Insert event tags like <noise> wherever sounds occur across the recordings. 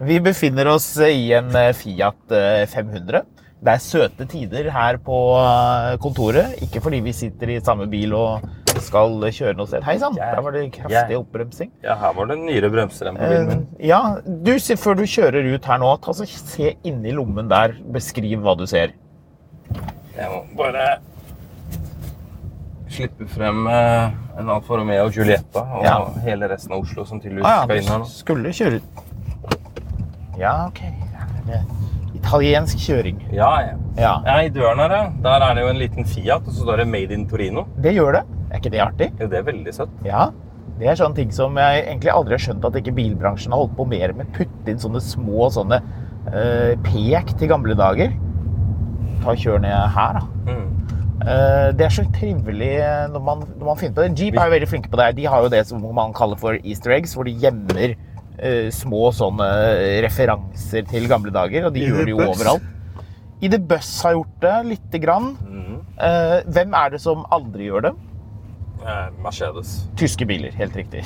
Vi befinner oss i en eh, Fiat eh, 500. Det er søte tider her på eh, kontoret. Ikke fordi vi sitter i samme bil og skal kjøre noe sted. Hei sann, der var det kraftig oppbremsing. Ja, her var det nyere bremser enn på Eh, bilen min. ja, du, se- før du kjører ut her nå, ta, så, se inni lommen der. Beskriv hva du ser. Eh. Jeg må bare slippe frem eh, en Alfa Romeo Giulietta og Ja. hele resten av Oslo som tydeligvis Ah, skal inn ja, du her nå. skulle kjøre ut. Ja, ok. Det er Italiensk kjøring. Ja, ja. Ja. ja, i døren her, ja. Der er det jo en liten Fiat, og så står det Made in Torino. Det gjør det. Er ikke det artig? Jo, det er veldig søtt. Ja. Det er sånne ting som jeg egentlig aldri har skjønt at ikke bilbransjen har holdt på mer med. Putte inn sånne små sånne eh, pek til gamle dager. Ta og Kjør ned her, da. Mm. Eh, det er så trivelig når man, når man finner på det. Jeep er jo veldig flinke på det. her. De har jo det som man kaller for easter eggs, hvor de gjemmer eh, små sånne eh, referanser til gamle dager. Og de I The gjør det jo Bus. overalt. I The Bus har gjort det lite grann. Mm. Eh, hvem er det som aldri gjør det? Eh, Mercedes. Tyske biler, helt riktig.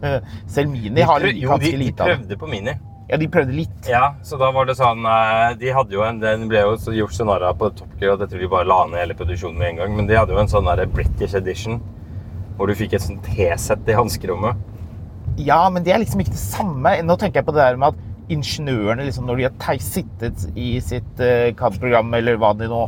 <laughs> Selv Mini har Prøv- jo, de, ganske de lite av det. prøvde på Mini. Ja, de prøvde litt. Ja, så da var det sånn eh, De hadde jo en, den ble jo så gjort så narr av på Top Gear, og dette vi bare la ned hele produksjonen med en gang, men de hadde jo en sånn der British edition, hvor du fikk et sånt T-sett i hanskerommet. Ja, men det er liksom ikke det samme. Nå tenker jeg på det der med at ingeniørene, liksom, når de har tei- sittet i sitt eh, CAD-program, eller hva de nå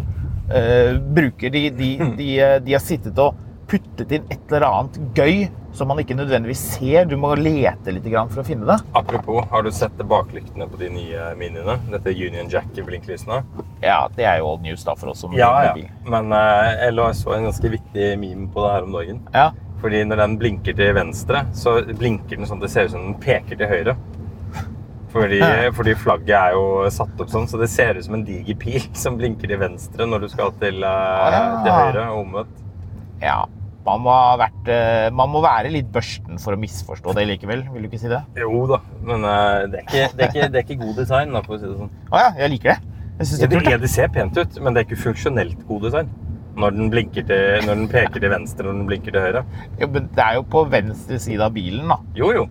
eh, bruker, de, de, de, eh, de har sittet og puttet inn et eller annet gøy som man ikke nødvendigvis ser. Du må lete litt grann for å finne det. Apropos, har du sett baklyktene på de nye miniene? Dette Union Jack-blinklysene? Ja, det er jo old news da for oss som driver bil. Men eh, jeg la- så en ganske viktig meme på det her om dagen. Ja. Fordi når den blinker til venstre, så blinker den sånn at det ser ut som den peker til høyre. Fordi, fordi flagget er jo satt opp sånn, så det ser ut som en diger pil <laughs> som blinker til venstre når du skal til, eh, Ah. til høyre og omvendt. ja. Man må, ha vært, eh, man må være litt børsten for å misforstå det likevel, vil du ikke si det? Jo da, men eh, det, er ikke, det, er ikke, det er ikke god design, da, for å si det sånn. Å ja, jeg liker det. Jeg synes Ja, det er det, kult. ja, det ser pent ut, men det er ikke funksjonelt god design. Når den, blinker til, når den peker til venstre og når den blinker til høyre. Ja, men det er jo på venstre side av bilen, da. Jo, jo.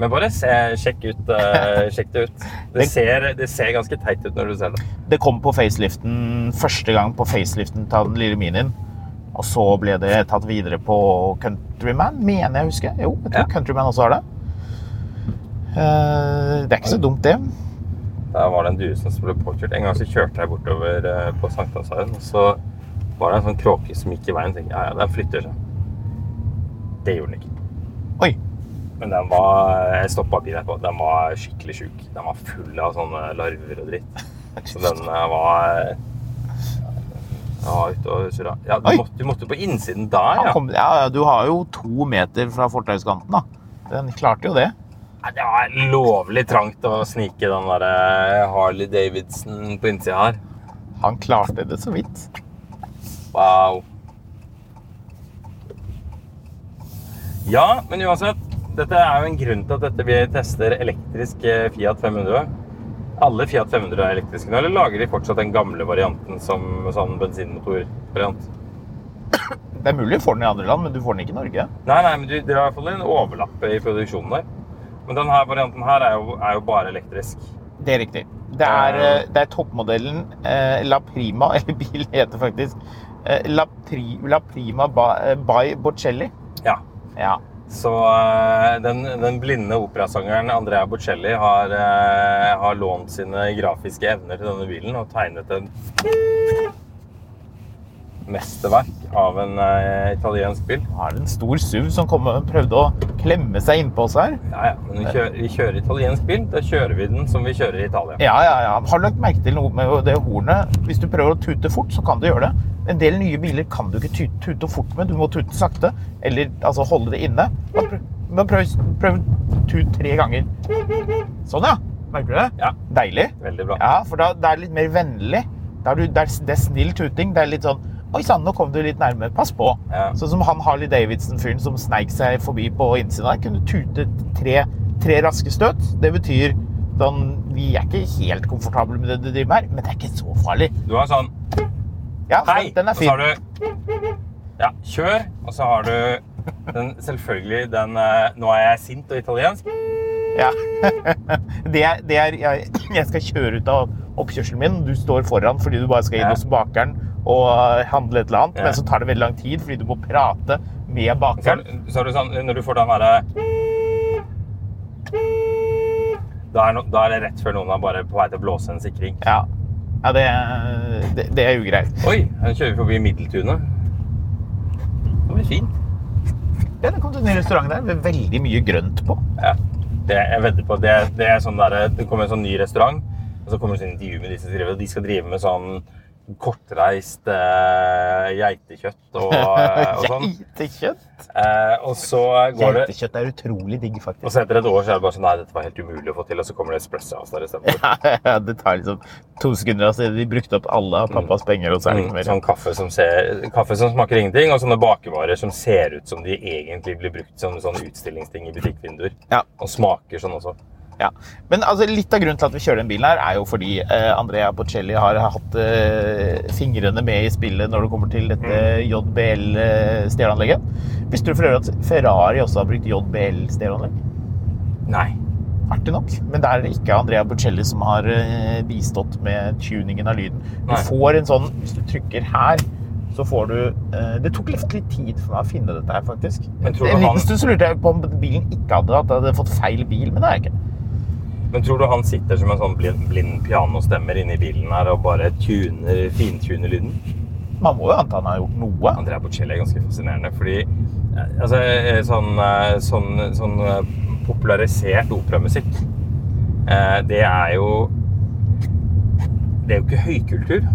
Men bare se, sjekk, ut, <laughs> eh, sjekk det ut. Det ser, det ser ganske teit ut når du ser det. Det kom på faceliften første gang på faceliften til den lille minien. Og så ble det tatt videre på Countryman, mener jeg å huske. Jo, jeg tror Ja. Countryman også har det. Eh, det er ikke så dumt, det. Der var det en due som ble påkjørt. En gang så kjørte jeg bortover eh, på Sankthanshaugen, og så var det en sånn kråke som gikk i veien. tenkte jeg, ja, ja, den flytter seg. Det gjorde den ikke. Oi. Men den var, jeg stoppet bilen etterpå. Den var skikkelig syk. Den var full av sånne larver og dritt. Så den eh, var... eh, Den var ute og surra. Ja, du Oi. måtte, du måtte på innsiden der, Han ja. kom, ja, ja, du har jo to meter fra fortauskanten, da. Den klarte jo det. Nei, Det var lovlig trangt å snike den der eh, Harley Davidson på innsiden her. Han klarte det så vidt. Wow. Ja, men uansett. Dette er jo en grunn til at dette vi tester elektrisk eh, Fiat 500. Alle Fiat 500 er elektriske nå, eller lager de fortsatt den gamle varianten som sånn bensinmotorvariant? Det er mulig du får den i andre land, men du får den ikke i Norge. Nei, nei, men du, dere har i hvert fall en overlapp i produksjonen der. Men denne varianten her er jo, er jo bare elektrisk. Det er riktig. Det er, eh, det er toppmodellen eh, La Prima, <laughs> eller bilen heter faktisk eh, La, Pri, La Prima by, by Bocelli. Ja. Ja. Så eh, den, den blinde operasangeren Andrea Bocelli har, eh, har lånt sine grafiske evner til denne bilen og tegnet en mesterverk av en eh, italiensk bil. Nå er det en stor SUV som kom og prøvde å klemme seg innpå oss her. Ja, ja, men vi kjører, vi kjører italiensk bil. Da kjører vi den som vi kjører i Italia. Ja, ja, ja. Har du lagt merke til noe med det hornet? Hvis du prøver å tute fort, så kan du gjøre det. En del nye biler kan du ikke tu- tute fort med. Du må tute sakte, eller altså holde det inne. Bare prøv- Bare prøv, prøv tut tre ganger. Sånn, ja. Merker du det? Ja. Deilig. Veldig bra. Ja, for da, det er litt mer vennlig. Da er du, det, er, det er snill tuting. Det er litt sånn Oi sann, nå kom du litt nærmere. Pass på. Ja. Sånn som han Harley Davidson-fyren som sneik seg forbi på innsiden der. Kunne tute tre, tre raske støt. Det betyr sånn Vi er ikke helt komfortable med det du driver med her, men det er ikke så farlig. Du har sånn Ja, så Hei! Altså, den er Og så fin. har du Ja, kjør. Og så har du den, selvfølgelig den eh, Nå er jeg sint og italiensk. Ja. <laughs> det er, det er jeg, <clears throat> jeg skal kjøre ut av oppkjørselen min, du står foran fordi du bare skal inn Ja. hos bakeren og øh, handle et eller annet, Ja. men så tar det veldig lang tid fordi du må prate med Så har, bakeren. du- så har du sånn Når du får den derre da er, no, da er det rett før noen er bare på vei til å blåse en sikring. Ja, ja det, det, det er ugreit. Oi, her kjører vi forbi Middeltunet. Det blir fint. Ja, det kom til en ny restaurant der med veldig mye grønt på. Ja. Det, jeg vedder på at det, det er sånn der, det kommer en sånn ny restaurant, og så kommer det sånn intervju med de som driver, og de skal drive med sånn kortreist eh, geitekjøtt <laughs> og, eh, og sånn. Geitekjøtt. Eh, og så går det, Geitekjøtt er utrolig digg, og faktisk. <laughs> så etter et år så er det bare sånn, nei, dette var helt umulig å få til, og så kommer det espresso der i stedet. Ja, det tar liksom to sekunder, altså de brukte opp alle av pappas penger, og så er det ikke Mm, mer. Sånn kaffe som, ser, kaffe som smaker ingenting, og sånne bakevarer som ser ut som de egentlig blir brukt som sånn utstillingsting i butikkvinduer. Ja. Og smaker sånn også. Ja. Men altså, litt av grunnen til at vi kjører den bilen her, er jo fordi eh, Andrea Bocelli har hatt eh, fingrene med i spillet når det kommer til dette Mm. JBL-stereoanlegget. eh, Visste du for øvrig at Ferrari også har brukt JBL-stereoanlegg? Nei. Artig nok. Men det er ikke Andrea Bocelli som har eh, bistått med tuningen av lyden. Du Nei. får en sånn Hvis du trykker her, så får du eh, Det tok litt, litt tid for meg å finne dette her, faktisk. Men En tror du han- liten stund så lurte jeg på om bilen ikke hadde at jeg hadde fått feil bil, men det er jeg ikke. Men tror du han sitter som en sånn blind, blind pianostemmer inni bilen her og bare tuner, fintuner lyden? Man må jo anta han har gjort noe. Andrea Bocelli er ganske fascinerende, fordi eh, altså, eh, sånn, eh, sånn, sånn eh, popularisert operamusikk, eh, det er jo det er jo ikke høykultur,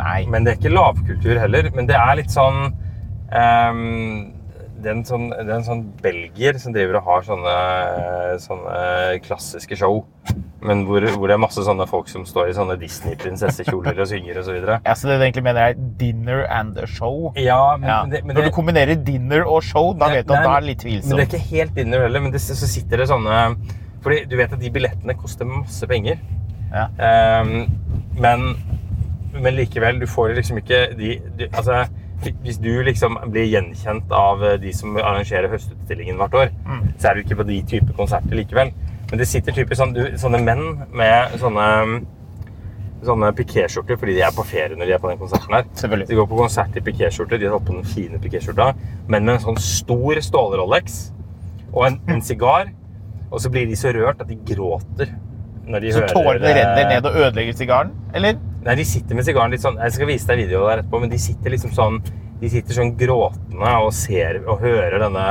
Nei. men det er ikke lavkultur heller. Men det er litt sånn ehm, det, er en sånn det er en sånn belgier som driver og har sånne, sånne klassiske show. Men hvor, hvor det er masse sånne folk som står i sånne Disney-prinsessekjoler og synger og så videre. Ja, så det du egentlig mener er dinner and a show. Ja, men, Ja. men det, men Når det, du kombinerer dinner og show, da vet du Nei, at da er det litt Men det er tvilsomt. ikke helt inne heller, men det, så sitter det sånne Fordi du vet at de billettene koster masse penger. Ja. Ehm, men, men likevel, du får liksom ikke de, de Altså, hvis du liksom blir gjenkjent av eh, de som arrangerer Høstutstillingen hvert år, Mm. så er du ikke på de type konserter likevel. Men det sitter typisk sånn, du, sånne menn med sånne Sånne pikéskjorter fordi de er på ferie når de er på den konserten her. Selvfølgelig. De går på konsert i pikéskjorter, de har tatt på den fine pikéskjorta, men med en sånn stor stål-Rolex og en, en sigar. Og så blir de så rørt at de gråter når de Så hører eh, tårene renner ned og ødelegger sigaren? Eller? Nei, de sitter med sigaren litt sånn Jeg skal vise deg videoen der etterpå, men de sitter liksom sånn De sitter sånn gråtende og ser og hører denne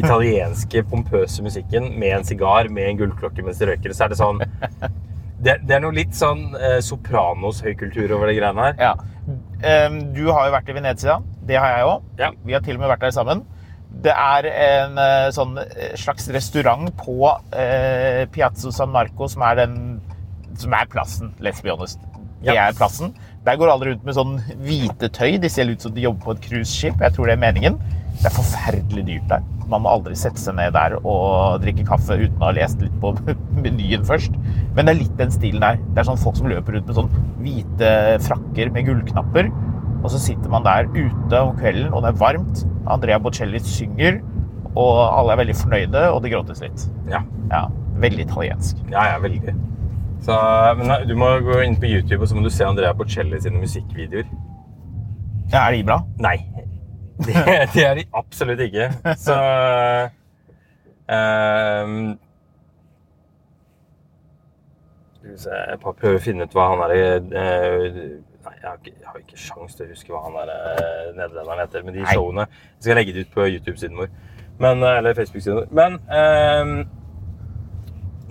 italienske pompøse musikken med en sigar med en gullklokke mens de røyker. Så er det sånn Det, det er noe litt sånn eh, Sopranos høykultur over de greiene her. Ja. Ehm, du har jo vært i Venezia. Det har jeg òg. Ja. Vi har til og med vært der sammen. Det er en eh, sånn eh, slags restaurant på eh, Piazzo San Marco som er den som er plassen, let's be honest. Det Ja. er plassen. Der går alle rundt med sånn hvite tøy. De ser ut som de jobber på et cruiseskip. Jeg tror det er meningen. Det er forferdelig dyrt der. Man må aldri sette seg ned der og drikke kaffe uten å ha lest litt på <laughs> menyen først. Men det er litt den stilen der. Det er sånn folk som løper rundt med sånn hvite frakker med gullknapper. Og så sitter man der ute om kvelden, og det er varmt. Andrea Bocelli synger. og alle er veldig fornøyde, og det gråtes litt. Ja, Ja, veldig italiensk. ja, ja veldig. Så, men nei, du må gå inn på YouTube, og så må du se Andrea Bocelli sine musikkvideoer. Ja, er de bra? Nei. Det, <laughs> det er de absolutt ikke. Så ehm, Skal vi se Jeg bare prøver å finne ut hva han er eh, Nei, jeg har ikke, jeg har ikke sjans til å huske hva han er eh, nederlenderen heter. Men de Nei. showene Jeg skal legge det ut på YouTube-siden vår. Men, eh, eller Facebook-siden vår. Men ehm,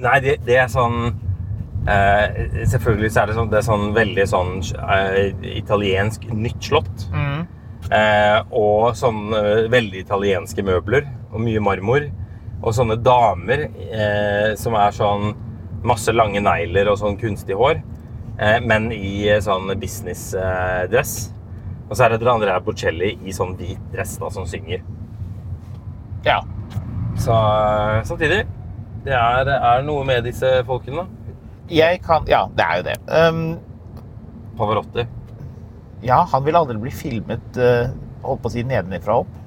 Nei, det, det er sånn eh, Selvfølgelig så er det sånn, det er sånn veldig sånn eh, italiensk nytt slott. Eh, og sånn eh, veldig italienske møbler og mye marmor. Og sånne damer eh, som er sånn masse lange negler og sånn kunstig hår, eh, men i eh, sånn businessdress. Eh, dress. og så er det Andrea Bocelli i sånn hvit dress da, som synger. Ja. Så eh, samtidig Det er, er noe med disse folkene. da. Jeg kan Ja, det er jo det. Ehm, Pavarotti. ja, han ville aldri bli filmet eh, Holdt på å si nedenifra og opp.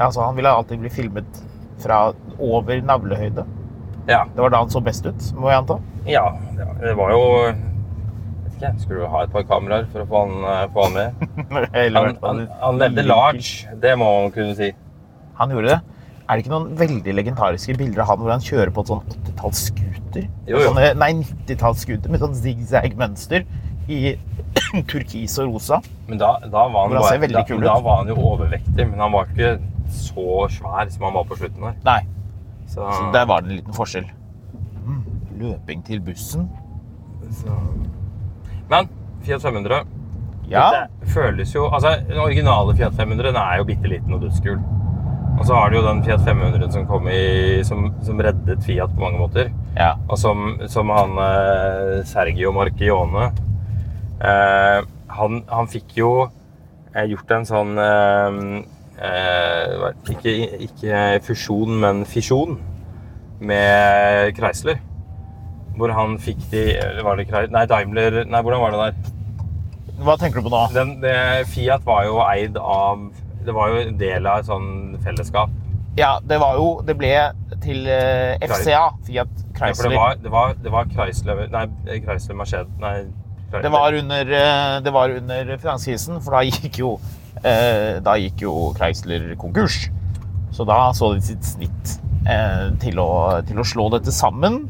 Altså, han ville alltid bli filmet fra over navlehøyde. Ja. Det var da han så best ut, må jeg anta. <laughs> ja. ja, Det var jo Vet ikke, skulle du ha et par kameraer for å få han, eh, få han med? Eller i Han, hvert fall- han, han levde large, det må man kunne si. Han gjorde det. Er det ikke noen veldig legendariske bilder av han hvor han kjører på et sånn 80-talls scooter? Jo, jo. Sånne- Nei, 90-talls scooter med sånn zigzag-mønster i <coughs> turkis og rosa. Men da, da, var han Men han ser bare, veldig da, kul ut. da var han jo overvektig, men han var ikke så svær som han var på slutten her. Nei, Så, så der var det en liten forskjell. Mm, løping til bussen. så. Men Fiat 500 Ja, det føles jo Altså, den originale Fiat 500 den er jo bitte liten og dødskul. Og så har du jo den Fiat 500 som kom i Som, som reddet Fiat på mange måter. ja. Og som, som han eh, Sergio Marchione eh, han, han fikk jo eh, gjort en sånn eh, eh, hva- ikke, ikke fusjon, men fisjon med Chrysler. Hvor han fikk de eller Var det Chrysler? Nei, Daimler Nei, hvordan var det der? Hva tenker du på nå? Den, det, Fiat var jo eid av Det var jo en del av et sånn fellesskap. Ja, det var jo Det ble til eh, FCA, Fiat Ja, for Chrysler. det var, det var, det var Chrysler Nei, Chrysler Mercedes Nei. Chrysler. Det var under, eh, det var under finanskrisen, for da gikk jo, eh, da gikk jo Chrysler konkurs. Så da så de sitt snitt eh, til å, til å slå dette sammen.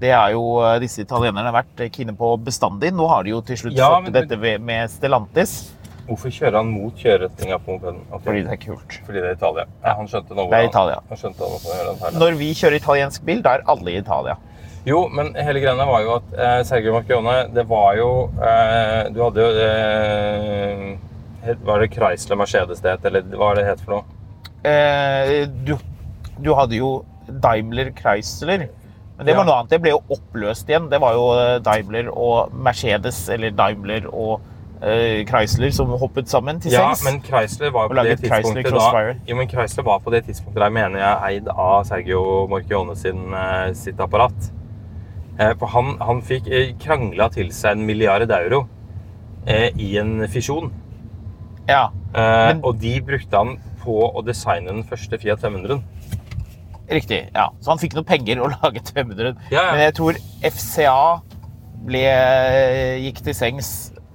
Det er jo eh, disse italienerne har vært kine på bestandig. Nå har de jo til slutt Ja, fått men- dette ved- med Stellantis, Hvorfor kjører han mot kjøreretninga på mopeden? Ok. fordi det er kult. Fordi det er Italia. Nei, han skjønte nå Det er hvordan- Italia. Han skjønte hvorfor han gjør den feilen. Når vi kjører italiensk bil, da er alle i Italia. Jo, men hele greia var jo at eh, Sergio Marchione, det var jo eh, Du hadde jo eh, het- Var det Chrysler Mercedes det het, eller hva er det het for noe? Eh, du, du hadde jo Daimler Chrysler. Men det Ja. var noe annet. Det ble jo oppløst igjen. Det var jo eh, Daimler og Mercedes, eller Daimler og eh, Chrysler, som hoppet sammen til Ja, seks. men Chrysler var på det laget Chrysler tidspunktet da Crossfire. Jo, men Chrysler var på det tidspunktet der, mener jeg, eid av Sergio Marchione sin, eh, sitt apparat. Eh, for han, han fikk eh, krangla til seg en milliard euro eh, i en fisjon. Ja. Eh, Men- og de brukte han på å designe den første Fiat 500-en. Riktig. ja. Så han fikk noen penger og <laughs> laget 500. Ja, ja. Men jeg tror FCA ble, eh, gikk til sengs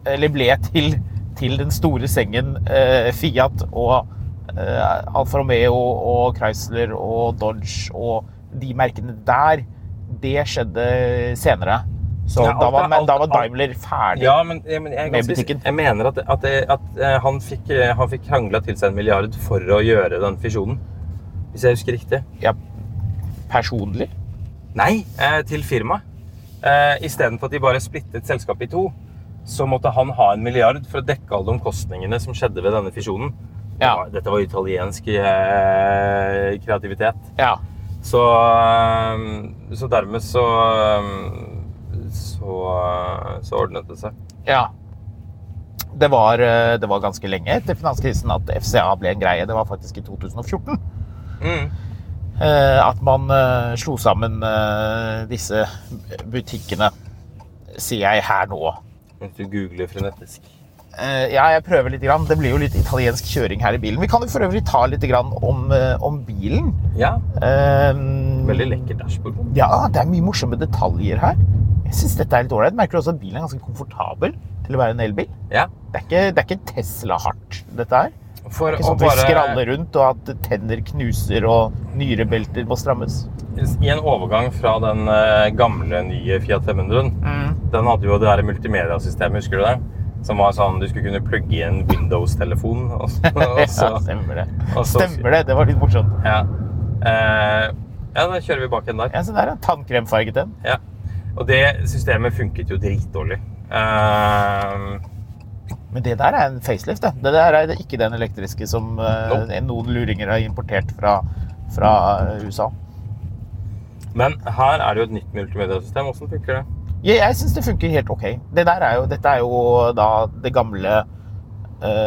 Eller ble til, til den store sengen eh, Fiat og eh, Alfa Romeo og Chrysler og Dodge og de merkene der. Det skjedde senere. Så Ja, alt da, var, er- alt- da var alt- Daimler ferdig. Ja, men, ja, men jeg, er Med ganske- butikken. jeg mener at, at, det- at eh, han fikk, eh, han fikk krangla til seg en milliard for å gjøre den fisjonen. Hvis jeg husker riktig. Ja, personlig. Nei, eh, til firmaet. Eh, Istedenfor at de bare splittet selskapet i to, så måtte han ha en milliard for å dekke alle omkostningene som skjedde ved denne fisjonen. Det Ja. var- Dette var italiensk eh, kreativitet. Ja. Så, øhm, så dermed så, øhm, så eh, Så ordnet det seg. Ja. Det var, eh, det var ganske lenge etter finanskrisen at FCA ble en greie. Det var faktisk i 2014. Eh, At man eh, slo sammen eh, disse butikkene, sier jeg her nå. Mens du googler frenetisk. Eh, ja, jeg prøver litt. Grann. Det blir jo litt italiensk kjøring her i bilen. Vi kan jo for øvrig ta litt grann om, eh, om bilen. Ja, Eh, veldig lekker dashbord. på den. Ja, det er mye morsomme detaljer her. Jeg synes dette er litt ålreit. Merker du også at bilen er ganske komfortabel til å være en elbil? Ja. Det er ikke, det er ikke Tesla-hardt, dette her. For Ikke sånn at vi skraller rundt, og at tenner knuser og nyrebelter må strammes. I en overgang fra den eh, gamle, nye Fiat 500-en Mm. Den hadde jo det der multimediasystemet, husker du det? Som var sånn, du skulle kunne plugge i en Windows-telefon. Og, så- <laughs> og Ja, så, stemmer det. og så- Stemmer det, det var litt morsomt. ja. Eh, ja, da kjører vi bak igjen der. Ja, se der, ja. Tannkremfarget en. Ja. Og det systemet funket jo dritdårlig. Eh, Men det der er en facelift, det. Det der er ikke den elektriske som eh, noen luringer har importert fra, fra eh, USA. men her er det jo et nytt multimediasystem. Hvordan funker det? Jeg, jeg syns det funker helt ok. Det der er jo, dette er jo da det gamle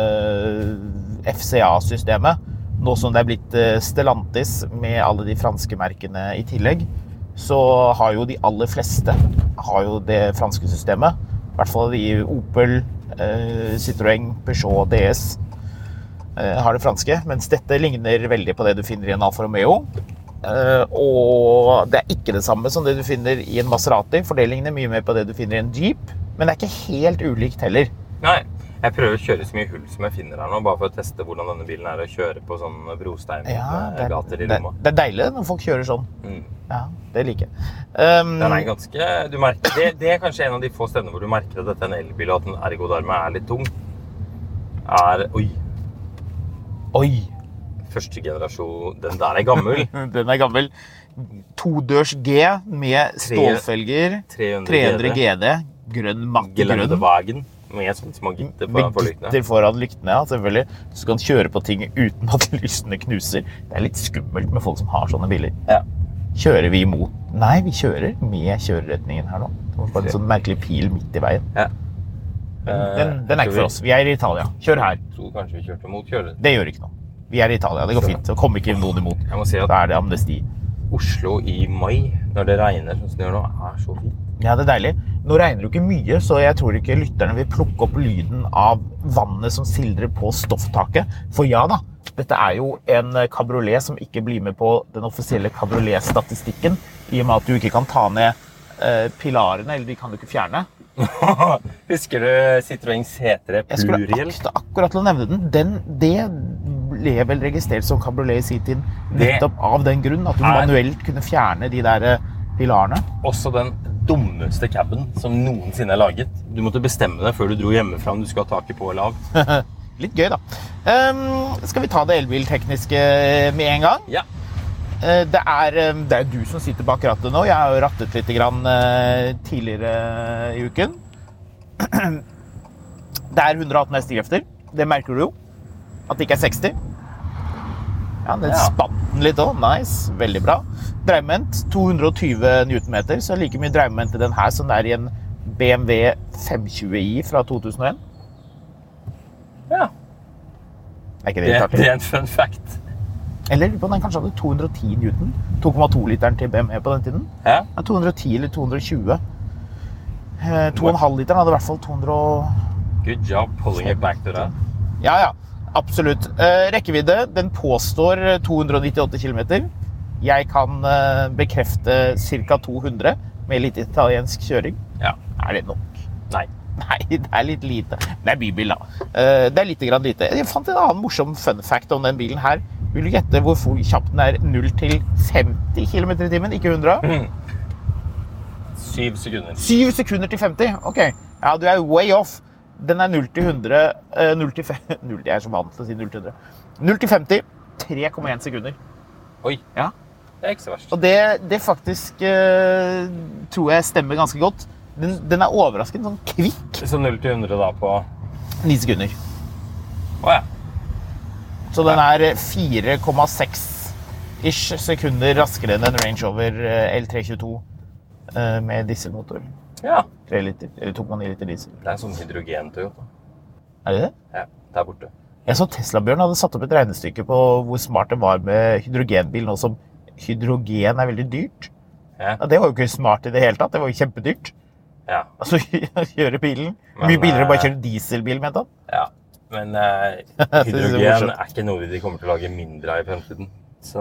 eh, FCA-systemet. Nå som det er blitt eh, Stellantis med alle de franske merkene i tillegg, så har jo de aller fleste har jo det franske systemet. I hvert fall de Opel, eh, Citroën, Peugeot, DS eh, har det franske. Mens dette ligner veldig på det du finner i en Alfa Romeo. Eh, og det er ikke det samme som det du finner i en Maserati. Fordelingen er mye mer på det du finner i en Jeep, men det er ikke helt ulikt heller. Nei, jeg prøver å kjøre så mye hull som jeg finner her nå, bare for å teste hvordan denne bilen er å kjøre på sånne det, er, brosteingater i det, Roma. det er deilig når folk kjører sånn. Mm. Ja, Det liker jeg. Um, Den er ganske, du merker, det, det er kanskje en av de få stedene hvor du merker at dette er en elbil, og at den ergodarmen er litt tung. Er, oi, Oi, første generasjon, den der er <laughs> gammel. den er gammel. Todørs G med stålfelger. 300 300 GD. Grønn, matt grønn. Geländewagen, med sånne små gitter på Med forlyktene. gitter foran lyktene, ja, selvfølgelig. Så du kan kjøre på ting uten at <laughs> lysene knuser. Det er litt skummelt med folk som har sånne biler. Ja. Kjører vi imot? Nei, vi kjører med kjøreretningen her nå. Det var bare en sånn merkelig pil midt i veien. Ja. Eh, Den, den er ikke for oss. Vi er i Italia. Kjør her. Jeg tror kanskje vi kjørte mot kjøret. Det gjør ikke noe. Vi er i Italia. Det går fint. Så kom ikke noen imot. Jeg må si at- Da er det amnesti. Oslo i mai, når det regner sånn som det gjør nå, er så fint. <laughs> Ja, det er deilig. Nå regner det jo ikke mye, så jeg tror ikke lytterne vil plukke opp lyden av vannet som sildrer på stofftaket. For ja da, dette er jo en kabriolet som ikke blir med på den offisielle kabriolet-statistikken, i og med at du ikke kan ta ned eh, pilarene, eller de kan du ikke fjerne. Husker du Citroën C3 Jeg skulle Pluriel? akte akkurat til å nevne den. den det ble vel registrert som kabriolet i sin tid, Det nettopp av den grunn at du er- manuelt kunne fjerne de der eh, pilarene. Også den dummeste caben som noensinne er laget. Du måtte bestemme deg før du dro hjemmefra om du skulle ha taket på eller av. Litt gøy, da. Ehm, skal vi ta det elbiltekniske med en gang? Ja. Eh, Det er, eh, det er du som sitter bak rattet nå. Jeg har jo rattet litt grann, eh, tidligere i uken. <clears throat> Det er 118 hestekrefter. Det merker du jo. At det ikke er 60. Ja, den Ja. spant den litt òg. Nice. Veldig bra. Dreiemoment 220 newtonmeter. Så like mye dreiemoment i den her som det er i en BMW 520i fra 2001. ja. Er ikke det Det, litt artig? det er en fun fact. Eller lurer på om den kanskje hadde 210 newton. 2,2-literen til BMW på den tiden. Ja. Ja, 210 eller 220. Eh, 2,5-literen hadde i hvert fall 200 og... Good job pulling it back to that. Ja, ja. Absolutt. Eh, rekkevidde, den påstår eh, 298 km. Jeg kan eh, bekrefte ca. 200 med litt italiensk kjøring. Ja. Er det nok? Nei. <laughs> Nei, det er litt lite. Det er bybil, da. Eh, Det er lite grann lite. Jeg fant en annen morsom fun fact om den bilen her. Vil du gjette hvor fort kjapt den er 0 til 50 km i timen? Ikke 100? Syv sekunder. 7 sekunder til 50? Ok. Ja, du er way off. Den er 0 til 100 eh, 0 til <laughs> 5 0, Jeg er så vant til å si 0 til 100. 0 til 50 3,1 sekunder. Oi, Ja. det er ikke så verst. Og det, det faktisk eh, tror jeg stemmer ganske godt. Den, den er overraskende sånn kvikk Så 0 til 100 da på 9 sekunder. Å ja. Så den er eh, 4,6 ish sekunder raskere enn en Range Rover eh, L322 eh, med dieselmotor. ja. 3 liter, eller 2,9 liter diesel. Det er en sånn hydrogen-Toyota. Er det det? Ja, der borte. Jeg så Tesla-Bjørn hadde satt opp et regnestykke på hvor smart det var med hydrogenbil nå som hydrogen er veldig dyrt. Ja. Ja, det var jo ikke smart i det hele tatt. Det var jo kjempedyrt. Ja. Altså <laughs> kjøre bilen. Men, Mye billigere å bare eh, kjøre dieselbil med den. ja. Men <laughs> eh, er hydrogen morsomt. er ikke noe de kommer til å lage mindre av i fremtiden. Så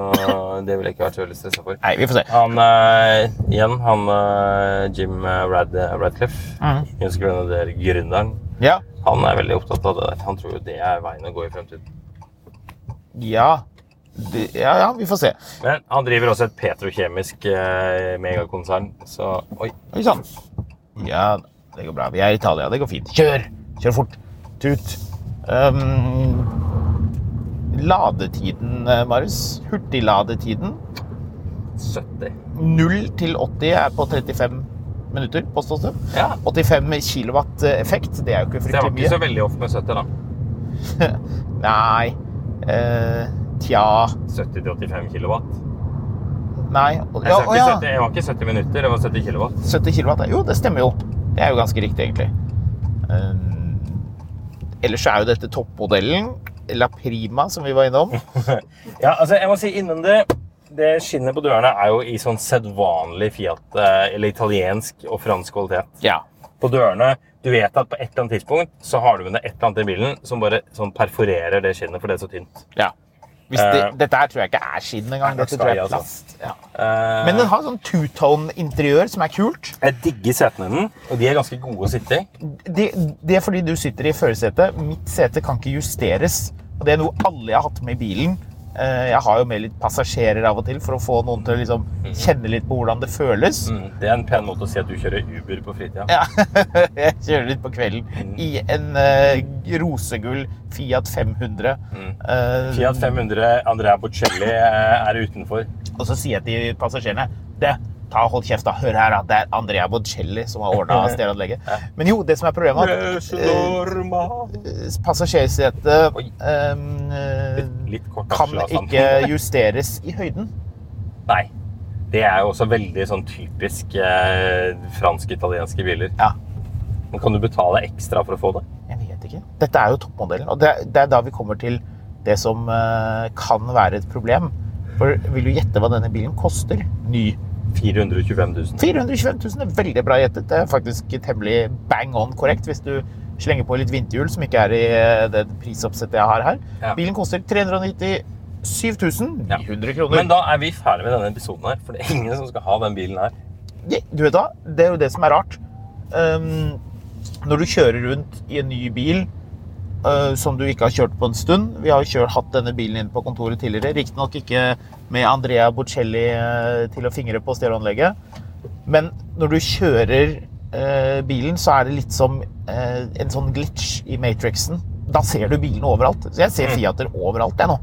det ville jeg ikke vært så veldig stressa for. Nei, vi får se. Han eh, igjen, han eh, Jim Rad Radcliffe, Mm. engelske gründer- gründeren, Ja. han er veldig opptatt av det der. Han tror jo det er veien å gå i fremtiden. Ja. Det, ja, ja, vi får se. Men han driver også et petrokjemisk eh, megakonsern, så Oi. Oi sann. Ja, det går bra. Vi er i Italia. Det går fint. Kjør! Kjør fort. Tut. Um, ladetiden, eh, Marius. Hurtigladetiden. 70. 0 til 80 er på 35 minutter, påstås det. Ja. 85 kilowatt eh, effekt, det er jo ikke Det var fryktelig ikke så mye. veldig off med 70, da. Nei. Eh, tja 70 til 85 kilowatt. Nei. Å Jeg ja, å sa ikke ja. 70, det var ikke 70 minutter, det var 70 kilowatt. 70 kilowatt. Jo, det stemmer jo. Det er jo ganske riktig, egentlig. Um, ellers så er jo dette toppmodellen. La Prima, som vi var innom. Ja, altså jeg må si innen det Det skinnet på dørene er jo i sånn sedvanlig Fiat eh, Eller italiensk og fransk kvalitet <laughs> Ja. På dørene, du vet at på et eller annet tidspunkt Så har du med deg et eller annet i bilen Som bare sånn perforerer det skinnet for det er så tynt ja. Hvis det, Eh. dette her tror jeg ikke er skinn engang. Nei, Dette skal tror jeg jeg, er altså. plast. Ja. Eh, Men den har sånn two-tone-interiør som er kult. Jeg digger setene i den Og de er ganske gode å sitte i Det, det er fordi du sitter i førersetet. Mitt sete kan ikke justeres. Og det er noe alle jeg har hatt med i bilen. Eh, Jeg har jo med litt passasjerer av og til for å få noen til å liksom kjenne litt på hvordan det føles. Mm, Det er en pen måte å si at du kjører Uber på fritida Ja, <laughs> jeg kjører litt på Mm. kvelden i en eh, rosegull Fiat 500. Mm. Eh, Fiat 500, Andrea Bocelli eh, er utenfor og så sier jeg til passasjerene det, ta hold kjeft da, hør her da, det er Andrea Bocelli som <laughs> har ordnet stereoanlegget. Men jo, det som er problemet er at eh, passasjersetet Oi. eh, Litt- litt kort kan avslagsavstand. ikke <laughs> justeres i høyden. Nei. Det er jo også veldig sånn typisk eh, fransk-italienske biler. Ja. Men kan du betale ekstra for å få det? Jeg vet ikke. Dette er jo toppmodellen, og det er, det er da vi kommer til det som eh, kan være et problem. For vil du gjette hva denne bilen koster? Ny. 425 000. 425 000 er veldig bra gjettet. Det er faktisk temmelig bang on korrekt hvis du slenger på litt vinterhjul, som ikke er i eh, det prisoppsettet jeg har her. Ja. Bilen koster 397 900 kroner. Men da er vi ferdig med denne episoden her, for det er ingen som skal ha den bilen her. Ja, Du vet da, det er jo det som er rart. Ehm, når du kjører rundt i en ny bil eh, som du ikke har kjørt på en stund Vi har jo kjørt, hatt denne bilen inne på kontoret tidligere, riktignok ikke med Andrea Bocelli eh, til å fingre på stereoanlegget. Men når du kjører eh, bilen, så er det litt som eh, en sånn glitch i Matrixen. Da ser du bilene overalt. Så jeg Mm. ser Fiater overalt, jeg nå.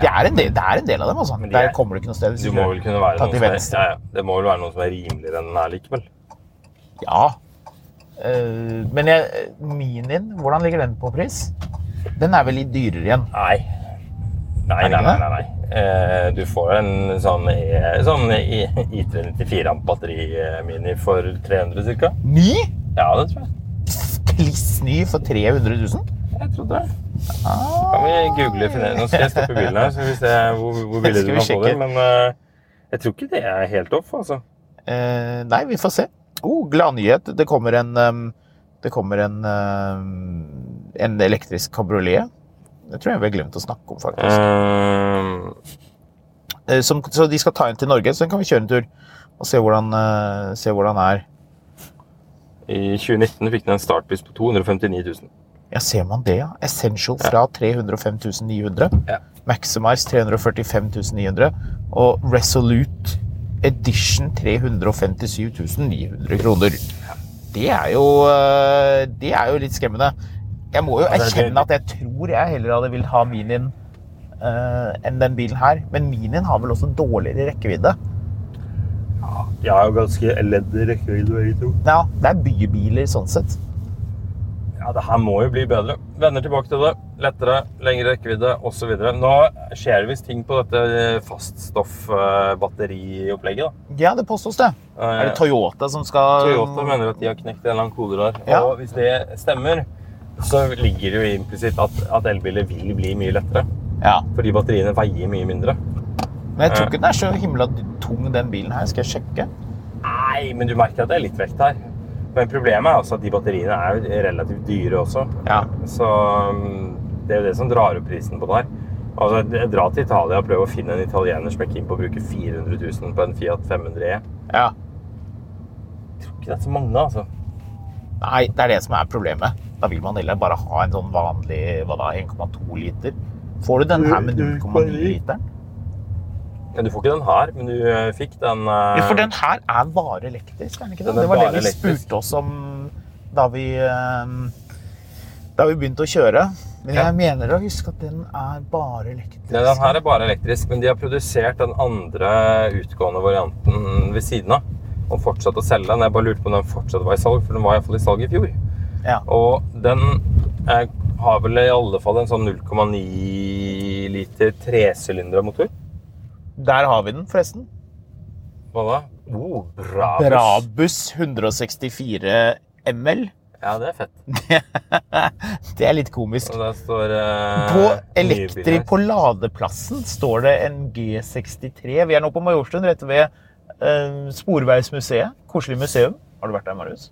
Det er en del, det er en del av dem, altså. Men de er- Der kommer du ikke noe sted. hvis Du må vel kunne være tar noen til som er, venstre. ja, ja. Det må vel være noen som er rimeligere enn den er likevel. Ja. Eh, men jeg, Minien, hvordan ligger den på pris? Den er vel litt dyrere igjen. Nei. Nei, Er det nei, nei. ikke nei, nei. Eh, du får en sånn, i- sånn i- I394 amp batterimini for 300 ca. Ny? Ja, det tror jeg. Kliss ny for 300 000? Jeg trodde det. Ah. Kan vi google og finne Nå skal jeg stoppe bilen her, så vi ser hvor, hvor billig Skal vi du kan få det. sjekke? Men eh, jeg tror ikke det er helt off, altså. Eh, nei, vi får se. Oh, Gladnyhet. Det kommer en ehm, Det kommer en ehm, En elektrisk kabriolet. Det tror jeg vi har glemt å snakke om, faktisk. Eh, som, så de skal ta en til Norge, så den kan vi kjøre en tur og se hvordan, eh, se hvordan den er. I 2019 fikk den en startpris på 259 000. Ja, ser man det, ja. Essential fra 305 900. Ja. Maximize 345 900. Og Resolute Edition 357 900 kroner. Det er jo eh, Det er jo litt skremmende. Jeg må jo Altså, det- erkjenne at jeg tror jeg heller hadde villet ha Minien eh, enn den bilen her. Men Minien har vel også dårligere rekkevidde. Jeg har jo ganske elendig rekkevidde, begge to. Ja, det er bybiler sånn sett. Ja, det her må jo bli bedre. Vender tilbake til det. Lettere, lengre rekkevidde osv. Nå skjer det visst ting på dette eh, faststoff-batteriopplegget. da. Ja, det påstås det. Eh, Er det Toyota som skal Toyota mener at de har knekt en eller annen kode der. Ah. Ja. Og hvis det stemmer, så ligger det jo implisitt at, at elbiler vil bli mye lettere. Ja. Fordi batteriene veier mye mindre. Men jeg tror ikke den er så himla tung, den bilen her. Skal jeg sjekke? Nei, men du merker at det er litt vekt her. Men problemet er også at de batteriene er jo relativt dyre også. Ja. Så mm, det er jo det som drar opp prisen på det her. Altså, d- dra til Italia og prøv å finne en italiener som er keen på å bruke 400 000 på en Fiat 500 E. ja. Jeg tror ikke det er så mange, altså. Nei, det er det som er problemet. Da vil man heller bare ha en sånn vanlig hva da, 1,2 liter. Får du den her med 0,9 literen? Ja, Du får ikke den her, men du eh, fikk den eh, Ja, for den her er bare elektrisk, er den ikke det? Den er Det var bare det vi elektrisk. spurte oss om da vi eh, da vi begynte å kjøre. Men Ja. jeg mener å huske at den er bare elektrisk. Nei, den her er bare elektrisk, men de har produsert den andre utgående varianten ved siden av. Og fortsatt å selge den. Jeg bare lurte på om den fortsatt var i salg, for den var iallfall i salg i fjor. Ja. Og den eh, har vel i alle fall en sånn 0,9 liter tresylindermotor. Der har vi den, forresten. Hva da? Oh, bra. buss. Brabus 164 ml. Ja, det er fett. <laughs> Det er litt komisk. Og der står eh, På nye biler Elektri her. på ladeplassen står det en G63. Vi er nå på Majorstuen, rett ved eh, Sporveismuseet. Koselig museum. Har du vært der, Marius?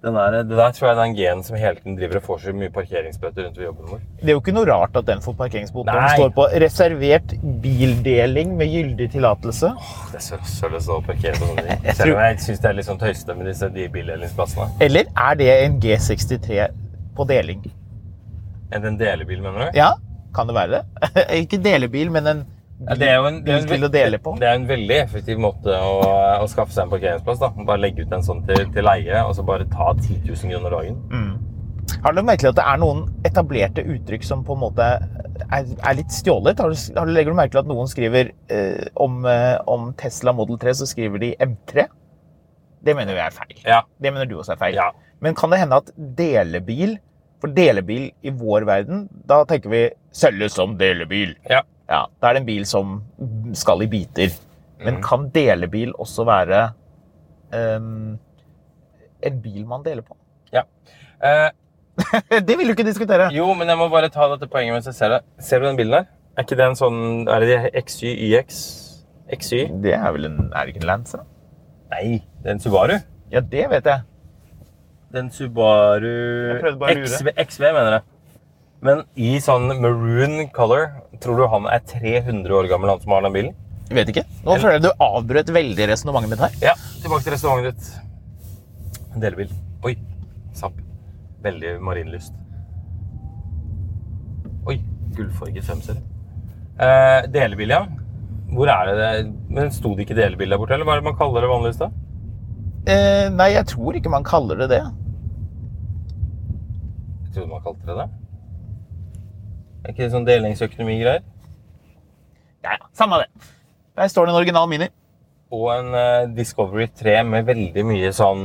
Den der, det der tror jeg er den G-en som hele tiden driver og får så mye parkeringsbøter rundt ved jobben vår. Det er jo ikke noe rart at den får parkeringsbot når Nei. den står på reservert bildeling med gyldig tillatelse. Det er så rasshøl å stå og parkere på sånne ting. <laughs> Jeg Selv om tror- jeg syns det er litt sånn tøysete med disse de bildelingsplassene. Eller er det en G63 på deling? En, en delebil, mener du? Ja, kan det være det? <laughs> ikke delebil, men en Ja, det er jo en, det er en, bil til å dele på. Det er en veldig effektiv måte å, å skaffe seg en parkeringsplass. da. Bare legge ut en sånn til, til leie, og så bare ta 10 000 kroner dagen. Mm. Har du merket at det er noen etablerte uttrykk som på en måte er, er litt stjålet? Har du, har du legger du merke til at noen skriver eh, om, eh, om Tesla Model 3, så skriver de M3? Det mener vi er feil. Ja. Det mener du også er feil. Ja. Men kan det hende at delebil, for delebil i vår verden, da tenker vi selges som delebil. Ja. Ja, da er det en bil som skal i biter. Men Mm. kan delebil også være ehm, en bil man deler på? <laughs> Eh, Det vil du ikke diskutere. jo, men jeg må bare ta dette poenget mens jeg ser det. Ser du den bilen der? Er ikke det en sånn Er det de XY YX? XY? Det er vel en Er det ikke en Lancer? da? Nei, det er en Subaru. Ja, det vet jeg. Den Subaru Jeg prøvde bare å lure. XV, XV, mener jeg. Men i sånn maroon color, tror du han er 300 år gammel, han som har den bilen? Vet ikke. Nå føler jeg du avbrøt veldig resonnementet mitt her. Ja, tilbake til restauranten ditt. En delebil. Oi, sapp. Veldig marinlyst. Oi, gullfarget femser. Eh, delebil, ja. Hvor er det det? Men sto det ikke delebil der borte, eller hva er det man kaller det vanligvis da? Eh, nei, jeg tror ikke man kaller det det. Jeg trodde man kalte det det. Er ikke det sånn delingsøkonomi-greier? Ja, ja. Samme det. Der står det en original Mini. Og en eh, Discovery 3 med veldig mye sånn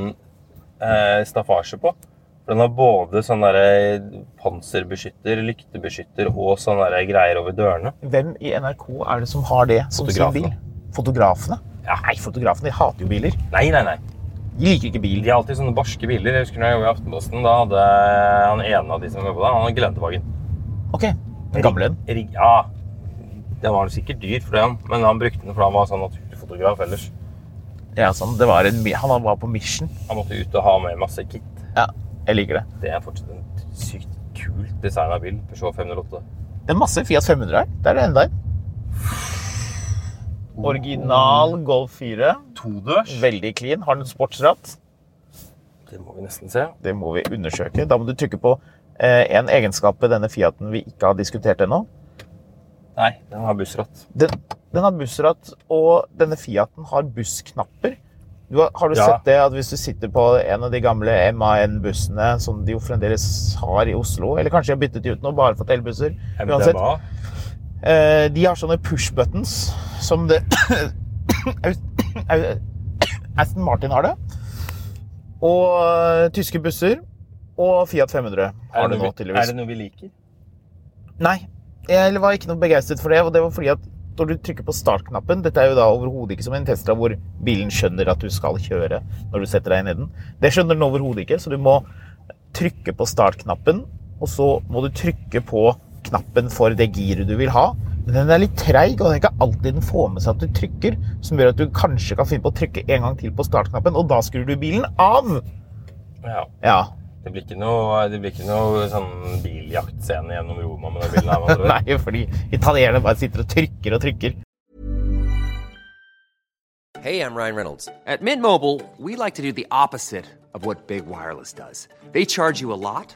eh, staffasje på. For Den har både sånn derre panserbeskytter, lyktebeskytter og sånne derre greier over dørene. Hvem i NRK er det som har det som sin bil? Fotografene. Fotografene? Ja. Nei, fotografene de hater jo biler. Nei, nei, nei. De liker ikke bil. De har alltid sånne barske biler. Jeg husker når jeg jobbet i Aftenposten, da hadde han ene av de som jobbet der, han hadde Geländewagen. Ok, den gamle en. Rig- Ja. Den var sikkert dyr for den, men han brukte den fordi han var sånn naturfotograf ellers. Ja, sånn, det var en, mi- han var på mission. Han måtte ut og ha med masse kit. Ja, jeg liker det. Det er fortsatt en sykt kult design av bil. Peugeot 508. Det er masse Fiat 500 her. Der er det enda en. Original Golf 4. Todørs? Veldig clean. Har den sportsratt? Det må vi nesten se. Det må vi undersøke. Da må du trykke på eh, en egenskap ved denne Fiaten vi ikke har diskutert ennå. Nei, den har bussratt. Den, den har bussratt, og denne Fiaten har bussknapper. Du har, har du Ja. sett det at hvis du sitter på en av de gamle MAN-bussene, som de jo fremdeles har i Oslo, eller kanskje de har byttet de ut nå, bare fått elbusser Uansett, MDMA. eh, de har sånne push buttons som det <coughs> Aston Martin har det. Og eh, tyske busser. Og Fiat 500 har Er det nå, det, noe, vi- er tydeligvis. det noe vi liker? Nei, jeg var ikke noe begeistret for det, og det var fordi at når du trykker på startknappen Dette er jo da overhodet ikke som en Tesla hvor bilen skjønner at du skal kjøre når du setter deg ned i den. Det skjønner den overhodet ikke, så du må trykke på startknappen, og så må du trykke på knappen for det giret du vil ha. Men den er litt treig, og det er ikke alltid den får med seg at du trykker, som gjør at du kanskje kan finne på å trykke en gang til på startknappen, og da skrur du bilen av. Ja. Ja. Det blir ikke noe, det blir ikke noe sånn biljaktscene gjennom Roma med det bildet <laughs> her. med andre ord. Nei, fordi italienerne bare sitter og trykker og trykker. Hey, I'm Ryan Reynolds. At Mint Mobile, we like to do the opposite of what Big Wireless does. They charge you a lot,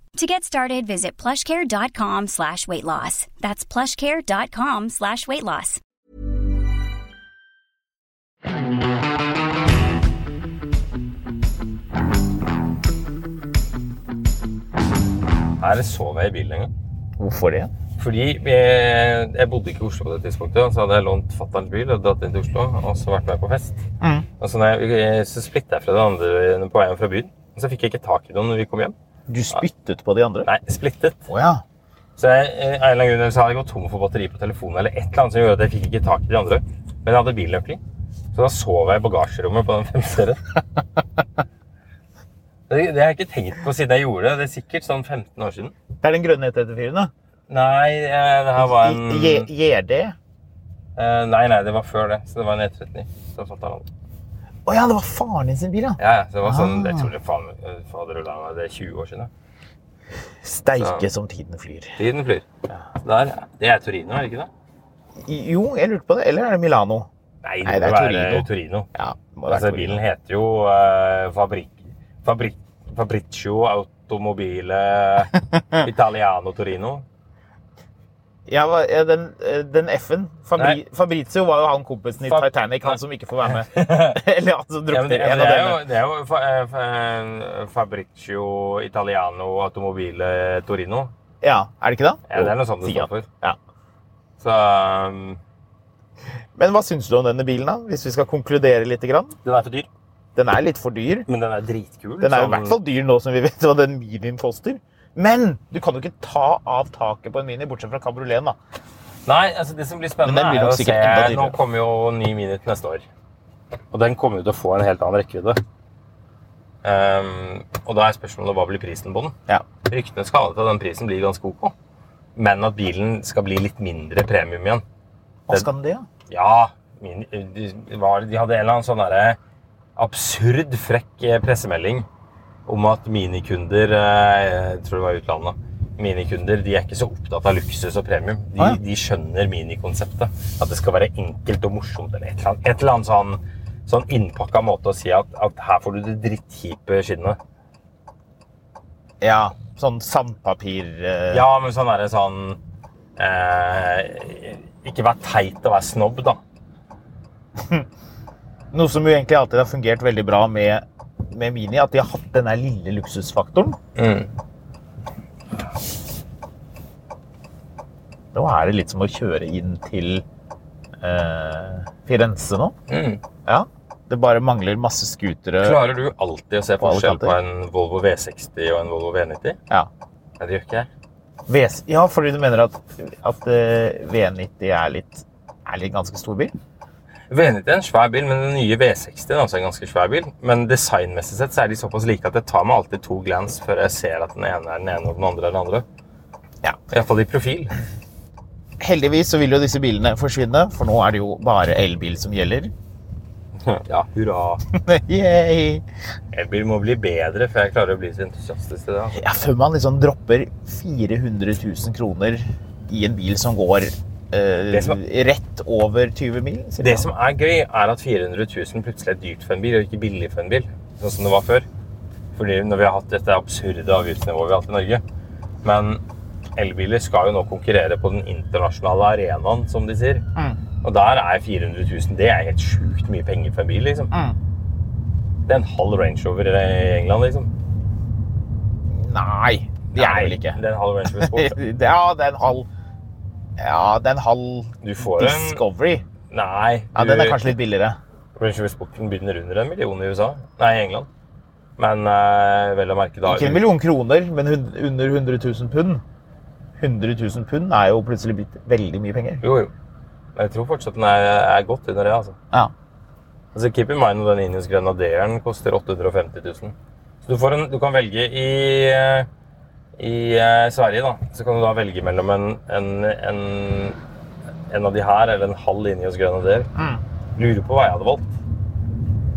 To get started, visit plushcare.com slash weight loss. That's plushcare.com slash weight loss. Her sov jeg i bilen en gang. Hvorfor det? Fordi jeg, jeg bodde ikke i Oslo på det tidspunktet, så hadde jeg lånt fatterns bil og dratt inn til Oslo og så vært med på fest. Mm. Og så, når jeg, så splittet jeg fra de andre på vei hjem fra byen. Og så fikk jeg ikke tak i noen når vi kom hjem. Du spyttet på de andre? Nei, splittet. Å ja. Så jeg, eh, av en eller annen grunn, så hadde jeg gått tom for batteri på telefonen eller et eller annet som gjorde at jeg fikk ikke tak i de andre. Men jeg hadde bilnøkling. Så da sov jeg i bagasjerommet på den <laughs> femserien. Det, det har jeg ikke tenkt på siden jeg gjorde det. Det er sikkert sånn 15 år siden. Det er den grønne 134-en, da. Nei, eh, det her var en I- J- JD. eh, Nei, nei, det var før det. Så det var en E39. Så fant jeg den. Å ja, det var faren din sin bil, ja. Ja, ja. Så det var sånn Ah. Jeg tror det faen eh, fader ulla meg, det er 20 år siden. ja. Steike som tiden flyr. Tiden flyr. Så Der, det er Torino, er det ikke det? I- Jo, jeg lurte på det. Eller er det Milano? Nei, det, Nei, det er må være Torino. Torino. Ja, det må være Altså, Torino. bilen heter jo eh, Fabrik... Fabrik... Fabriccio <laughs> Automobile Italiano Torino. Ja, hva- ja, den, eh, den F-en. Fabri Nei. Fabrizio var jo han kompisen i Fab- Titanic, han Nei. som ikke får være med. <laughs> Eller han som <laughs> Ja, men drukner det, i en det av er jo, denne. det er jo fa, eh, fa- Fabriccio Italiano Automobile Torino. Ja, er det ikke det? Ja, det er noe Jo, sånt det sier står han. for. Ja. Så um, Men hva syns du om denne bilen, da? Hvis vi skal konkludere litt? Grann? Den er for dyr, Den er litt for dyr. men den er dritkul. Den er jo i sånn- hvert fall dyr nå som vi vet hva den minien koster. Men du kan jo ikke ta av taket på en mini, bortsett fra kabrioleten, da. Nei, altså det som blir spennende Men den blir er nok å se sikkert enda Nå dyrere. kommer jo ny Mini til neste år. Og den kommer jo til å få en helt annen rekkevidde. Ehm, og da er spørsmålet hva blir prisen på den? Ja. Ryktene skal ha det til at den prisen blir ganske ok, men at bilen skal bli litt mindre premium igjen. Hva skal den det, da? Ja, min, de, var, de hadde en eller annen sånn derre absurd frekk eh, pressemelding om at minikunder eh, Jeg tror det var i utlandet. Minikunder de er ikke så opptatt av luksus og premium. De, Ah, ja. de skjønner minikonseptet. At det skal være enkelt og morsomt. Eller et eller annet, et eller annet sånn, sånn innpakka måte å si at, at her får du det drittkjipe skinnet. Ja, sånn sandpapir... eh, Ja, men sånn er det sånn eh, Ikke vær teit og vær snobb, da. Noe som jo egentlig alltid har fungert veldig bra med, med Mini, at de har hatt denne lille luksusfaktoren. Nå er det litt som å kjøre inn til eh, Firenze nå. Ja, det bare mangler masse skutere. Klarer du alltid å se Eh. alle forskjell kanter. på en Volvo V60 og en Volvo V90? Ja. Nei, det gjør ikke jeg. Ves- ja, fordi du mener at, at eh, V90 er litt, er litt ganske stor bil? V90 er en svær bil, men den nye V60 er også en ganske svær bil. Men designmessig sett så er de såpass like at jeg tar meg alltid to glans før jeg ser at den ene er den ene og den andre er den andre. Ja. Iallfall i <laughs> profil. Heldigvis så vil jo disse bilene forsvinne, for nå er det jo bare elbil som gjelder. <laughs> Ja, hurra. Yay! Elbil må bli bedre før jeg klarer å bli så entusiastisk til det. Altså. Ja, før man liksom dropper 400 000 kroner i en bil som går eh, Det som rett over 20 mil. cirka. Det som er gøy, er at 400 000 plutselig er dyrt for en bil, og ikke billig for en bil. Sånn som det var før. Fordi når vi har hatt dette absurde avgiftsnivået vi har hatt i Norge. Men elbiler skal jo nå konkurrere på den internasjonale arenaen, som Mm. de sier. Og der er 400 000 Det er helt sjukt mye penger for en bil, liksom. Mm. Det er en halv Range Rover i England, liksom. Nei, det er det vel ikke. Det er en halv Range Rover Sport. <laughs> Det- Ja, det er en halv Ja, det er en halv Du får en Discovery. Nei. Ja, du- Den er kanskje litt billigere. Range Rover Sporten begynner under en million i USA. Nei, i England. Men eh, vel å merke da Ikke en million kroner, men hun- under 100 000 pund. 100 000 pund er jo plutselig blitt veldig mye penger. Jo, jo. Men jeg tror fortsatt den er, er godt under det, altså. Ja. Altså, Keep in mind at den Indians Grenaderen koster 850 000. Så du, får en, du kan velge i, eh, i eh, Sverige, da. Så kan du da velge mellom en, en, en, en av de her, eller en halv Indians Grenader. Mm. Lurer på hva jeg hadde valgt. <laughs>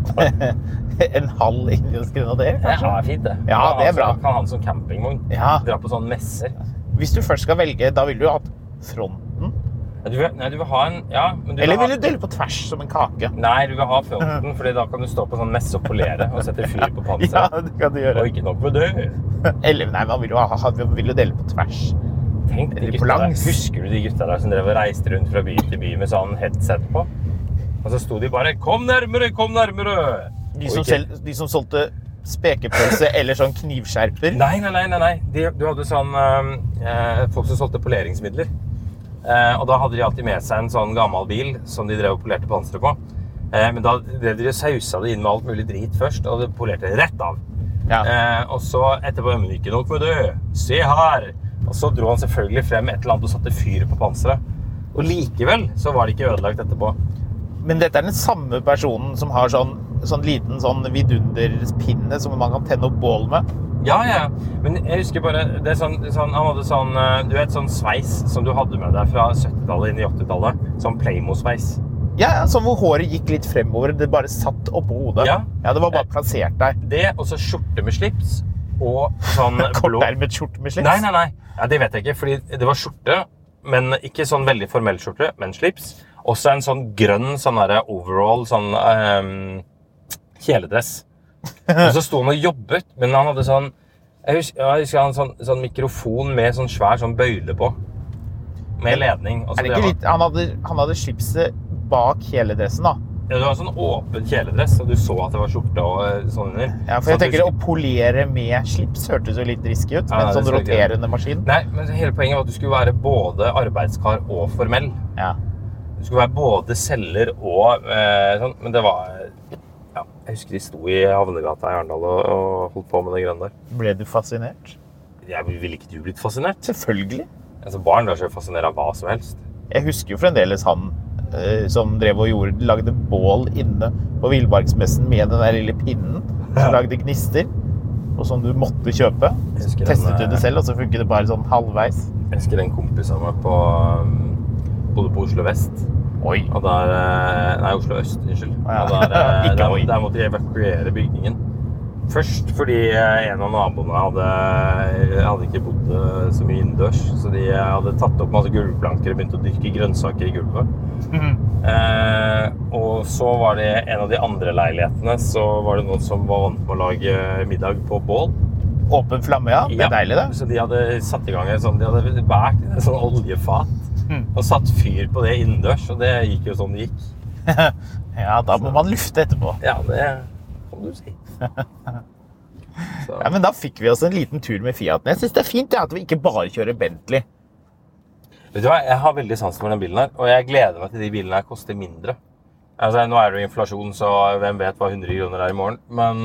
En halv indisk grenader, Det kanskje? er fint, det. Ja, det er Altså, bra. Kan ha den som campingvogn. Ja. Dra på sånne messer. Hvis du først skal velge, da vil du ha fronten. Nei, du vil, nei, du vil ha en Ja, men du Eller ha- vil du dele på tvers som en kake? Nei, du vil ha fronten, fordi da kan du stå på sånn messe og polere og sette fyr på <laughs> <laughs> Ja, panseret. det kan du Og gjøre. ikke nok med det. Eller nei, man vil jo, ha, man vil jo dele på tvers. Tenk de Eller på gutta der. langs. Husker du de gutta der som drev og reiste rundt fra by til by med sånn headset på? Og så sto de bare 'Kom nærmere, kom nærmere!' De Og som, ikke- sel- de som solgte <laughs> spekepølse eller sånn knivskjerper. Nei, nei, nei. nei, nei. De, du hadde sånn eh, eh, folk som solgte poleringsmidler. Eh, og da hadde de alltid med seg en sånn gammel bil som de drev og polerte panseret på. Eh, men da drev de og sausa det inn med alt mulig drit først, og det polerte rett av. Ja. Eh, og så etterpå «Men ikke nok med det. Se her! Og så dro han selvfølgelig frem et eller annet og satte fyr på panseret. Og likevel så var det ikke ødelagt etterpå. Men dette er den samme personen som har sånn, sånn liten sånn vidunderpinne som man kan tenne opp bål med. Ja, ja. Men jeg husker bare det er sånn, sånn, Han hadde sånn eh, Du vet sånn sveis som du hadde med deg fra 70-tallet inn i 80-tallet? Sånn Playmo-sveis. Ja, ja, sånn hvor håret gikk litt fremover. Det bare satt oppå hodet. Ja. Eh, det var bare plassert der. Det, og så skjorte med slips og sånn blå Kortermet skjorte med slips. Nei, nei, nei. Ja, det vet jeg ikke, fordi det var skjorte, men ikke sånn veldig formell skjorte, men slips. Også en sånn grønn sånn derre overall, sånn ehm, kjeledress. Og så sto han og jobbet, men han hadde sånn Jeg husker, jeg husker han hadde sånn, sånn mikrofon med sånn svær sånn bøyle på. Med ledning. og så Er det ikke var- litt, han, hadde, han hadde slipset bak hele dressen, da. Ja, det var sånn åpen kjeledress, og du så at det var skjorte og eh, sånn under. Ja, for Så jeg at du tenker Å skulle- polere med slips hørtes jo litt risky ut. Med Ja, en det sånn skal jeg ikke gjøre. roterende maskin. Nei, men hele poenget var at du skulle være både arbeidskar og formell. Ja. Du skulle være både selger og eh, sånn, men det var ja, Jeg husker de sto i Havnegata i Arendal og, og holdt på med det grønne der. Ble du fascinert? Jeg ville ikke du blitt fascinert? Selvfølgelig. Altså, Barn lar seg fascinere av hva som helst. Jeg husker jo fremdeles han eh, som drev og gjorde, lagde bål inne på Villmarksmessen med den der lille pinnen som lagde gnister, og som du måtte kjøpe. Jeg husker Testet den, du det eh, selv, og så funket det bare sånn halvveis. Jeg husker en kompis av meg på um, bodde på Oslo vest. Oi. Og der eh, Nei, Oslo øst, unnskyld. Å ja. Og <laughs> der, eh, Ikke der, oi. der måtte de evakuere bygningen. Først fordi eh, en av naboene hadde, hadde ikke bodd eh, så mye innendørs. Så de eh, hadde tatt opp masse gulvplanker og begynt å dyrke grønnsaker i gulvet. <laughs> Eh, og så var det en av de andre leilighetene så var det noen som var vant med å lage eh, middag på bål. Åpen flamme, ja. Det Ja, er deilig, det. Så de hadde satt i gang en sånn, de hadde bært inn en sånn oljefat Hmm. og satt fyr på det innendørs, og det gikk jo sånn det gikk. Ja, da må man lufte etterpå. Ja, det kan <laughs> du si. Så. Ja, men da fikk vi oss en liten tur med Fiaten. Jeg syns det er fint ja, at vi ikke bare kjører Bentley. Vet du hva, Jeg har veldig sans for den bilen her, og jeg gleder meg til de bilene her koster mindre. Altså, Nå er det jo inflasjon, så hvem vet hva 100 kroner er i morgen. Men,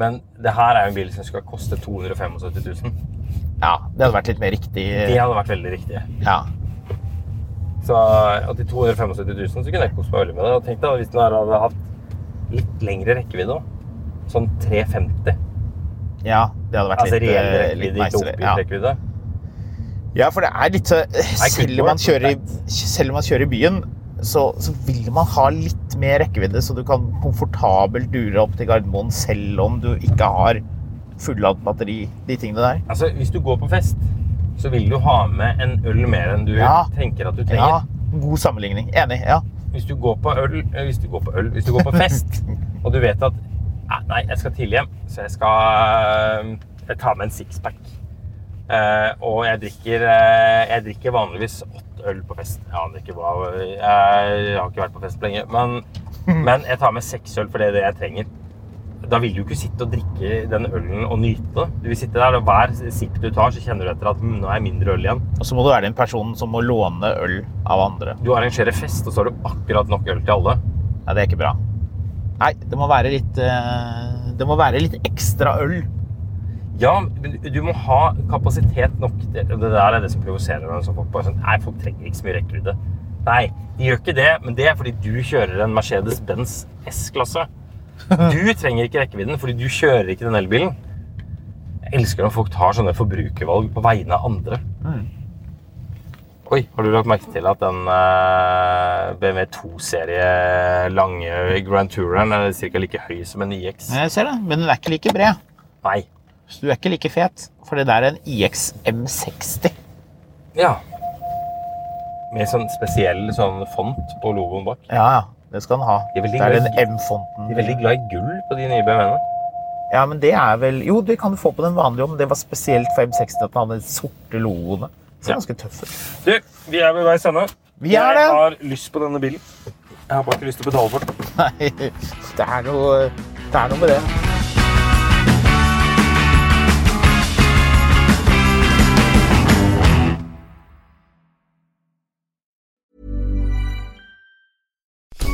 men det her er jo en bil som skal koste 275 000. Ja, det hadde vært litt mer riktig. Det hadde vært veldig riktig. Ja. Så at de 275 000 så kunne jeg kost meg veldig med det. Og tenk deg hvis den her hadde hatt litt lengre rekkevidde. da. Sånn 350. ja, det hadde vært Altså litt, reell eh, litt rekkevidde, ikke nicer. oppgitt Ja. rekkevidde. Ja, for det er litt så eh, Selv om man work, kjører, i- but- selv om man kjører i byen, så, så vil man ha litt mer rekkevidde, så du kan komfortabelt dure opp til Gardermoen selv om du ikke har fulladd batteri, de tingene der. Altså, Hvis du går på fest, så vil du ha med en øl mer enn du Ja. tenker at du Ja, trenger. god sammenligning. Enig. Ja. Hvis du går på øl, eh, hvis du går på øl, hvis du går på fest, og du vet at "Ah, Nei, jeg skal tidlig hjem, så jeg skal eh, jeg tar med en sixpack. Eh, og jeg drikker, eh, jeg drikker vanligvis åtte øl på fest. Jeg aner ikke hva Jeg har ikke vært på fest på lenge. Men, men jeg tar med seks øl, for det er det jeg trenger. da vil du ikke sitte og drikke den ølen og nyte det. Du vil sitte der, og hver sipp du tar, så kjenner du etter at mm, nå er jeg mindre øl igjen. Og så må du være den personen som må låne øl av andre. Du arrangerer fest, og så har du akkurat nok øl til alle. Nei, det er ikke bra. Nei, det må være litt eh, Det må være litt ekstra øl. Ja, men du du må ha kapasitet nok. Det, det der er det som provoserer meg. som folk bare sånn, Nei, folk trenger ikke så mye rekkevidde. Nei, de gjør ikke det, men det er fordi du kjører en Mercedes-Benz S-klasse. Du trenger ikke rekkevidden fordi du kjører ikke den elbilen. Jeg elsker når folk tar sånne forbrukervalg på vegne av andre. Oi, har du lagt merke til at den eh, BMW 2-serie lange Grand Touren er cirka like høy som en IX? Jeg Eh, ser det, men den er ikke like bred. Nei. Så du er ikke like fet. For det der er en IX M60. Ja. Med sånn spesiell sånn font på logoen bak. Ja, ja. Det skal den ha. De er veldig det er glad i- den M-fonten. De er veldig glad i gull på de nye BMW-ene. Ja, men det er vel Jo, det kan du få på den vanlige òg, men det var spesielt for M60 at den hadde de sorte logoene. Så Ja. ganske tøff <laughs> ut. Du, vi er ved veis ende. Vi er det. Jeg har lyst på denne bilen. Jeg har bare ikke lyst til å betale for den. Nei, det er noe Det er noe med det.